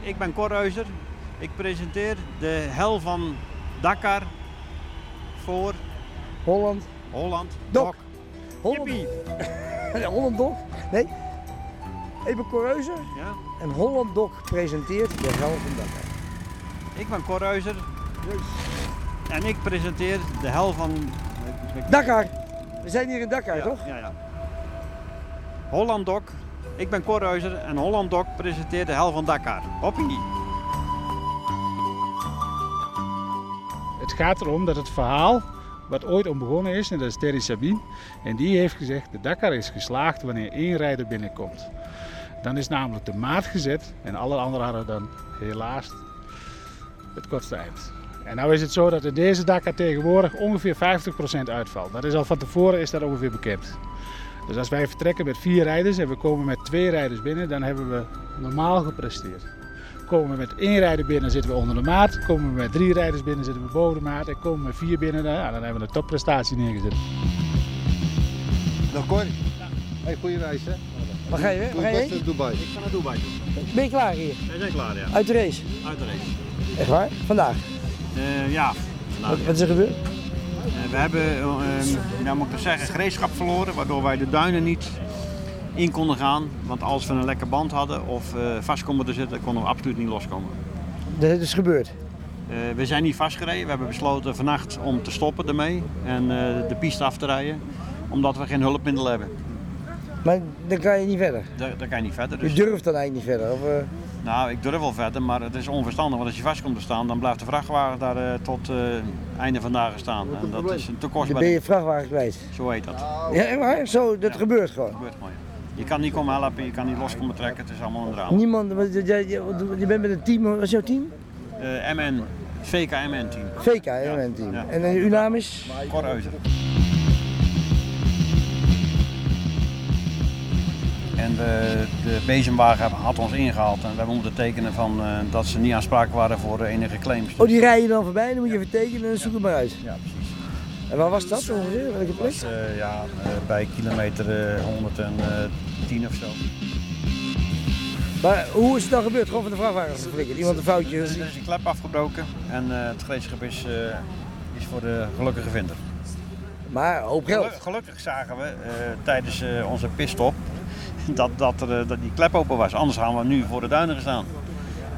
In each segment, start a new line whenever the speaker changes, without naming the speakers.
ik ben Cor Reuser. Ik presenteer de hel van Dakar voor
Holland.
Holland.
Dok.
Dok.
Holland,
Jippie.
Holland Dok. Nee. Even Correuze.
Ja.
En Holland Dok presenteert de hel van Dakar.
Ik ben Cor Reuser en ik presenteer de hel van...
Dakar. We zijn hier in Dakar,
Ja,
toch?
Ja, ja. Holland Dok. Ik ben Cor Reuser en Holland Dok presenteert de hel van Dakar. Hoppie.
Het gaat erom dat het verhaal wat ooit om begonnen is, en dat is Terry Sabine, en die heeft gezegd: de Dakar is geslaagd wanneer één rijder binnenkomt. Dan is namelijk de maat gezet en alle anderen hadden dan helaas het kortste eind. En nou is het zo dat in deze Dakar tegenwoordig ongeveer 50% uitvalt. Dat is al van tevoren is dat ongeveer bekend. Dus als wij vertrekken met vier rijders en we komen met twee rijders binnen, dan hebben we normaal gepresteerd. Komen we met één rijder binnen, zitten we onder de maat. Komen we met drie rijders binnen, zitten we boven de maat. En komen we met vier binnen, nou, dan hebben we een topprestatie neergezet.
Dag Cor. Hey, goede reis hè.
Waar ga je weg?
Doe
Waar
het
ga je
beste
heen?
in Dubai.
Ik ga naar Dubai.
Ben je klaar hier?
Wij zijn klaar, ja.
Uit de race?
Uiteraard.
Echt waar? Ah. Vandaag?
Eh ja. Nou,
Wat, wat is er gebeurd?
Eh, We hebben, eh, eh, nou moet ik het zeggen, gereedschap verloren, waardoor wij de duinen niet in konden gaan. Want als we een lekker band hadden of eh, vast konden te zitten, konden we absoluut niet loskomen.
Dat is gebeurd.
Eh, we zijn niet vastgereden. We hebben besloten vannacht om te stoppen ermee en eh, de piste af te rijden, omdat we geen hulpmiddelen hebben.
Maar dan kan je niet verder.
Daar, daar kan je niet verder.
Je
Dus,
durft dan eigenlijk niet verder. Of, eh,
nou, ik durf wel verder, maar het is onverstandig. Want als je vast komt te staan, dan blijft de vrachtwagen daar eh, tot eh, einde van dagen staan. En dat is een te
dan
kostbaar.
ben je vrachtwagen kwijt.
Zo heet dat.
Ja, echt waar? Zo, dat
Ja.
gebeurt gewoon.
gebeurt gewoon. Je kan niet komen helpen, je kan niet los komen trekken, het is allemaal een drama.
Niemand, want je, je, je- je bent met een team, wat is jouw team?
Eh, MN, VKMN-team,
VK, hè, mijn team.
ja.
En eh, uw naam is?
Korreuzer. En we, de bezemwagen had ons ingehaald en we hebben moeten tekenen van, eh, dat ze niet aansprakelijk waren voor eh, enige claims.
Oh, die rij je dan voorbij, dan moet je even tekenen en zoek het maar uit.
Ja, precies.
En waar was dat ongeveer? Welke plek?
Eh, ja, eh, bij kilometer eh, 110 of zo.
Maar hoe is het dan gebeurd? Gewoon van de vrachtwagen geflikkerd? Iemand een foutje?
Er is een Dus klep afgebroken en eh, het gereedschap is, eh, is voor de gelukkige vinder.
Maar een hoop geld.
Gelu- gelukkig zagen we eh, tijdens eh, onze pitstop dat, dat, er, eh, dat die klep open was. Anders hadden we nu voor de duinen gestaan.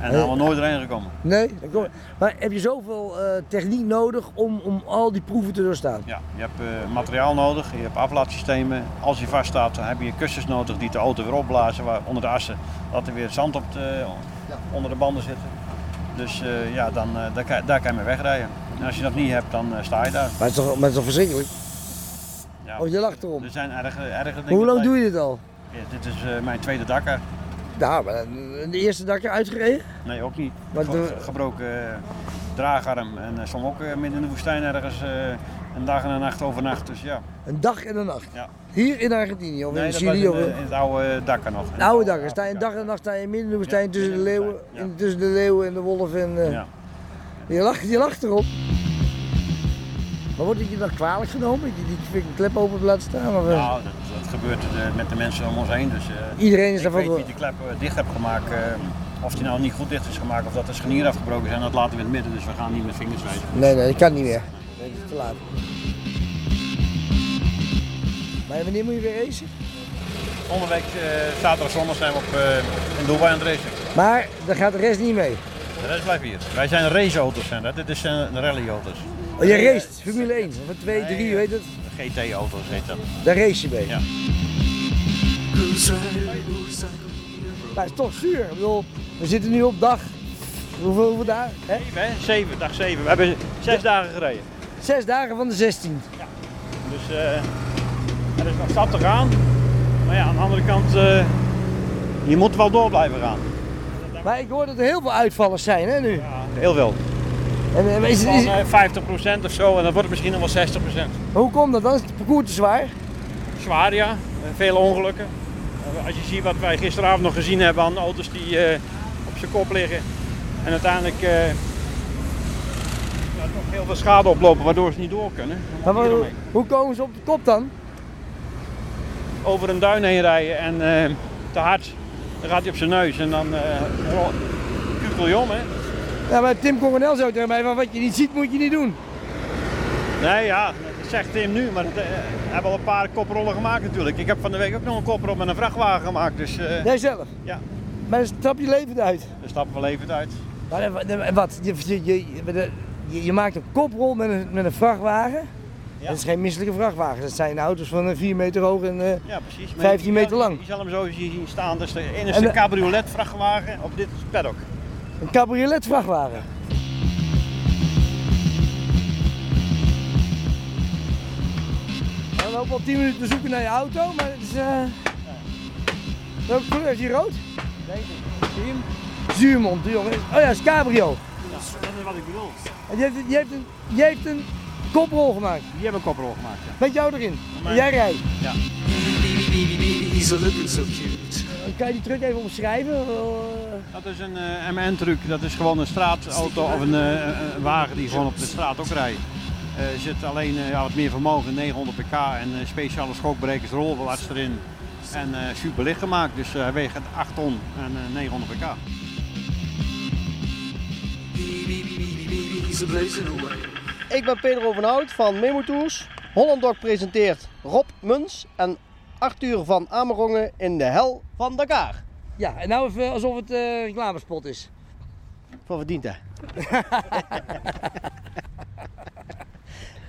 En dan hadden we nooit erheen gekomen.
Nee? dat komt- Maar heb je zoveel eh, techniek nodig om, om al die proeven te doorstaan?
Ja, je hebt eh, materiaal nodig, je hebt aflaatsystemen. Als je vaststaat, dan heb je kussens nodig die de auto weer opblazen waar, onder de assen. Dat er weer zand op de, onder de banden zit. Dus eh, ja, dan, eh, daar, kan, daar kan je mee wegrijden. En als je dat niet hebt, dan eh, sta je daar.
Maar het is toch, maar het is toch verschrikkelijk?
Ja.
Oh, je lacht erom.
Er zijn erge, erge dingen.
Maar hoe lang doe je dit al?
dit is eh, mijn tweede dakker.
Nou, maar eh, de eerste dakje uitgereden?
Nee, ook niet.
Wat
Ge-
doe-
ge- gebroken eh, draagarm en eh, soms ook eh, midden in de woestijn ergens eh, een dag en een nacht overnacht. Dus ja.
Een dag en een nacht?
Ja.
Hier in Argentinië of in
dat was
Chili?
in,
of...
eh, in het oude eh, Dakar nog.
De oude dag, er sta je een dag en nacht sta je midden in de woestijn
Ja,
tussen, de
midden in de
leeuwen,
woestijn, ja.
in- tussen de leeuwen en de wolf en eh,
Ja.
je, lacht, je lacht erop. Maar wordt het je dan kwalijk genomen? Dat je die fik- klep open laat staan? Of, eh,
Nou, dat, dat gebeurt eh, met de mensen om ons heen. Dus, eh,
iedereen is
ik
daarvan
weet wie
door.
die klep eh, dicht heeft gemaakt. eh, of die nou niet goed dicht is gemaakt of dat de scharnier afgebroken zijn, dat laten we in het midden. Dus we gaan niet met vingers wijzen.
Nee, nee, dat kan niet meer. Nee, dat is te laat. Maar wanneer moet je weer racen?
Volgende week, eh, zaterdag, zondag zijn we op, eh in Dubai aan het racen.
Maar dan gaat de rest niet mee. Oh,
De rest blijft hier. Wij zijn raceauto's, zijn dat. Dit is een rallyauto's.
Oh, je race, Formule 1, of 2,
Nee,
3,
eh,
weet het?
GT-auto's heet dat.
Daar race je mee.
Ja.
Maar het is toch zuur. Ik bedoel, we zitten nu op dag. Hoeveel, hoeveel dagen? Hè?
Zeven, hè? Zeven, dag zeven. We hebben zes dagen gereden.
Zes dagen van de 16.
Dus eh, er is nog stap te gaan. Maar ja, aan de andere kant, eh, je moet wel door blijven gaan.
Maar ik hoor dat er heel veel uitvallers zijn hè, nu.
Heel veel.
En, eh, maar is-
Van
is-
eh, 50% of zo en dat wordt misschien nog wel 60%.
hoe komt dat dan? Is het parcours te zwaar?
Zwaar ja, Eh, veel ongelukken. Eh, als je ziet wat wij gisteravond nog gezien hebben aan auto's die eh, op zijn kop liggen. En uiteindelijk eh, ja, toch heel veel schade oplopen waardoor ze niet door kunnen.
Maar wa-
Hieromheen.
hoe komen ze op de kop dan?
over een duin heen rijden en eh, te hard, dan gaat hij op zijn neus en dan eh, rol- spion, hè?
Ja, maar Tim Coronel zou tegen mij van wat je niet ziet moet je niet doen.
Nee, ja, dat zegt Tim nu, maar eh, we hebben al een paar koprollen gemaakt natuurlijk. Ik heb van de week ook nog een koprol met een vrachtwagen gemaakt, dus eh
Jijzelf.
Ja.
Maar dan stap je levend uit.
daar stappen we levend uit.
Maar dan- dan- en wat? Je, je, je, je- je maakt een koprol met een, met een vrachtwagen.
Ja.
Dat is geen misselijke vrachtwagen. Dat zijn auto's van eh, 4 meter hoog en eh,
Ja, precies. Maar
15
je-
meter lang.
Je zal hem zo zien staan, dat is de
En
enige
de-
cabriolet-vrachtwagen op dit paddock.
een cabriolet vrachtwagen. We lopen al 10 minuten te zoeken naar je auto, maar het is... eh Welke kleur is die rood? Zuurmond, jongen. Oh ja, dat is cabrio.
Dat is wat ik bedoel.
En Je hebt, je hebt, een, je hebt een koprol gemaakt.
Die hebben een koprol gemaakt, ja.
Met jou erin.
mij.
En jij rijdt.
Ja.
Kan je die truck even omschrijven? Eh,
Dat is een MN-truck. Dat is gewoon een straatauto of een, eh, een- een wagen die gewoon op de straat ook rijdt. Eh, Er zit alleen eh, ja, wat meer vermogen, 900 pk en eh, speciale schokbrekers, rolbelasting erin. En eh, super licht gemaakt, dus eh, hij weegt 8 ton en eh, 900 pk.
Ik ben Pedro van Hout van Memo Tours. Holland Dog presenteert Rob Muns en Arthur van Amerongen in de hel van Dakar.
Ja, en nou even alsof het eh reclamespot is.
Voor verdiend hè?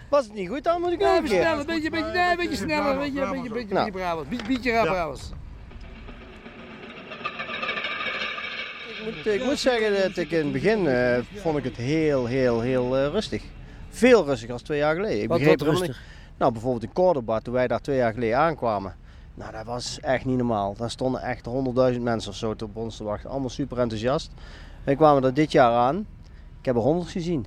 Was het niet goed dan moet ik nog een
even
keer.
sneller, een beetje, beetje, nee, een beetje sneller, een beetje, een beetje, een beetje,
Nou.
beetje Brabant. Beetje, beetje raar Brabants.
Ik moet, ik moet zeggen dat ik in het begin eh, vond ik het heel, heel, heel eh, rustig. Veel rustiger als twee jaar geleden. Ik
Wat,
begreep
wat
helemaal niet- Nou, bijvoorbeeld in Cordoba, toen wij daar twee jaar geleden aankwamen. Nou, dat was echt niet normaal. Daar stonden echt 100.000 mensen of zo op ons te wachten. Allemaal super enthousiast. Wij kwamen er dit jaar aan. Ik heb er honderd gezien.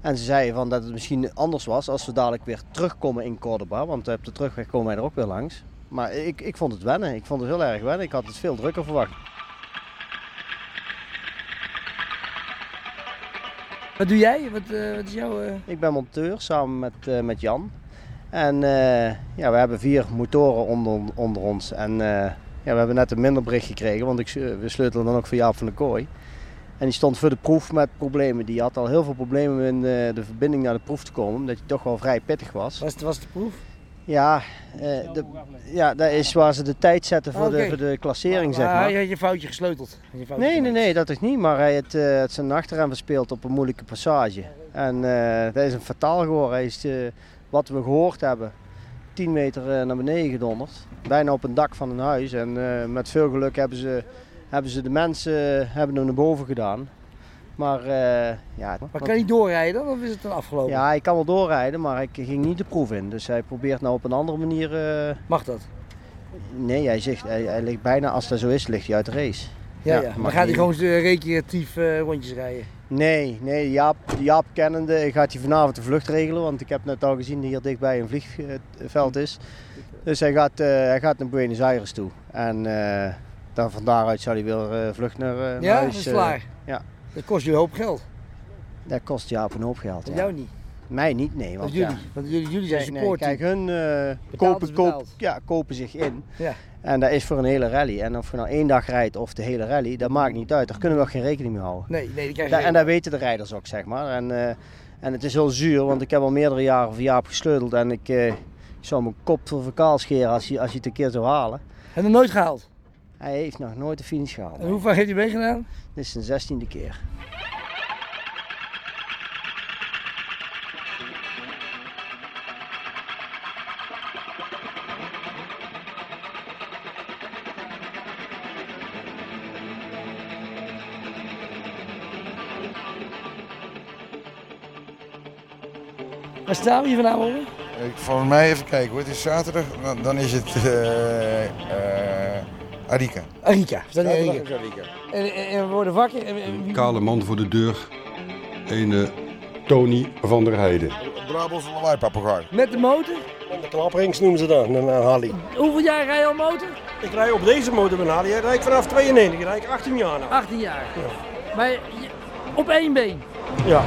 En ze zeiden van dat het misschien anders was als we dadelijk weer terugkomen in Cordoba. Want op de terugweg komen wij er ook weer langs. Maar ik, ik vond het wennen. Ik vond het heel erg wennen. Ik had het veel drukker verwacht.
Wat doe jij? Wat, eh, wat is jouw... eh,
Ik ben monteur samen met, eh, met Jan. En eh, ja, we hebben vier motoren onder, onder ons. En eh, ja, we hebben net een minder bericht gekregen, want ik, s- we sleutelen dan ook voor Jaap van de Kooi. En die stond voor de proef met problemen. Die had al heel veel problemen om in eh, de verbinding naar de proef te komen, omdat hij toch wel vrij pittig was.
was, het- was het de proef?
Ja, eh, de, ja, dat is waar ze de tijd zetten voor,
Oké.
de, voor de klassering, zeg
Ah,
maar.
Je had je foutje gesleuteld. Je foutje
Nee, nee,
gemaakt.
nee, dat is niet. Maar hij heeft eh, het zijn achterrem verspeeld op een moeilijke passage. En eh, dat is een fataal geworden. Hij is, eh, wat we gehoord hebben, 10 meter eh, naar beneden gedonderd. Bijna op een dak van een huis. En eh, met veel geluk hebben ze, hebben ze de mensen eh, hebben hem naar boven gedaan. Maar eh, ja...
Maar kan hij doorrijden of is het dan afgelopen?
Ja, hij kan wel doorrijden, maar hij ging niet de proef in. Dus hij probeert nou op een andere manier... eh,
Mag dat?
nee, hij, zegt, hij, hij ligt bijna, als dat zo is, ligt hij uit de race.
Ja,
Ja,
ja.
mag
Maar gaat hij
niet.
gewoon eh, recreatief eh, rondjes rijden?
Nee, nee Jaap, Jaap kennende gaat hij vanavond de vlucht regelen. Want ik heb net al gezien dat hier dichtbij een vliegveld is. Dus hij gaat, eh, hij gaat naar Buenos Aires toe. En eh, dan van daaruit zal hij weer eh, vlucht naar, eh, naar
ja, dat
huis,
is
eh.
klaar.
ja.
Dat kost jullie een hoop geld.
dat kost Jaap een hoop geld.
En
Ja.
jou niet.
Mij niet, nee.
Of
Want,
jullie.
ja,
Want jullie, jullie zijn
Nee, nee,
support.
kijk, hun eh,
is
kopen, koop,
betaald.
ja, kopen zich in.
Ja.
En dat is voor een hele rally. En of je nou één dag rijdt of de hele rally, dat maakt niet uit. Daar kunnen we ook geen rekening mee houden.
Nee, nee, die krijg je
Da-
geen-
en dat weten de rijders ook, zeg maar. En, eh, en het is heel zuur, want ik heb al meerdere jaren voor Jaap gesleuteld. En ik, eh, ik zou mijn kop voor verkaal scheren als hij, als hij het een keer zou halen.
Heb je nog nooit gehaald?
Hij heeft nog nooit de finish gehaald.
En hoe vaak heeft hij meegedaan?
Dit is zijn zestiende keer.
Waar staan we hier vanavond?
Ik, volgens mij even kijken hoor, het is zaterdag, dan, dan is het eh eh Arica.
Arika. We staan hier in Arica.
Arica.
En, en, en we worden wakker. En, en
Een
wie-
kale man voor de deur. Een eh, Tony van der Heijden.
Brabantse lawaaipapegaai.
met de motor?
De klaprings noemen ze dat, een eh, Harley.
Hoeveel jaar rij je al motor?
Ik rij op deze motor met een Harley. Ik rijd vanaf 92, rijd ik 18 jaar nou.
18 jaar. Maar je- op één been.
Ja.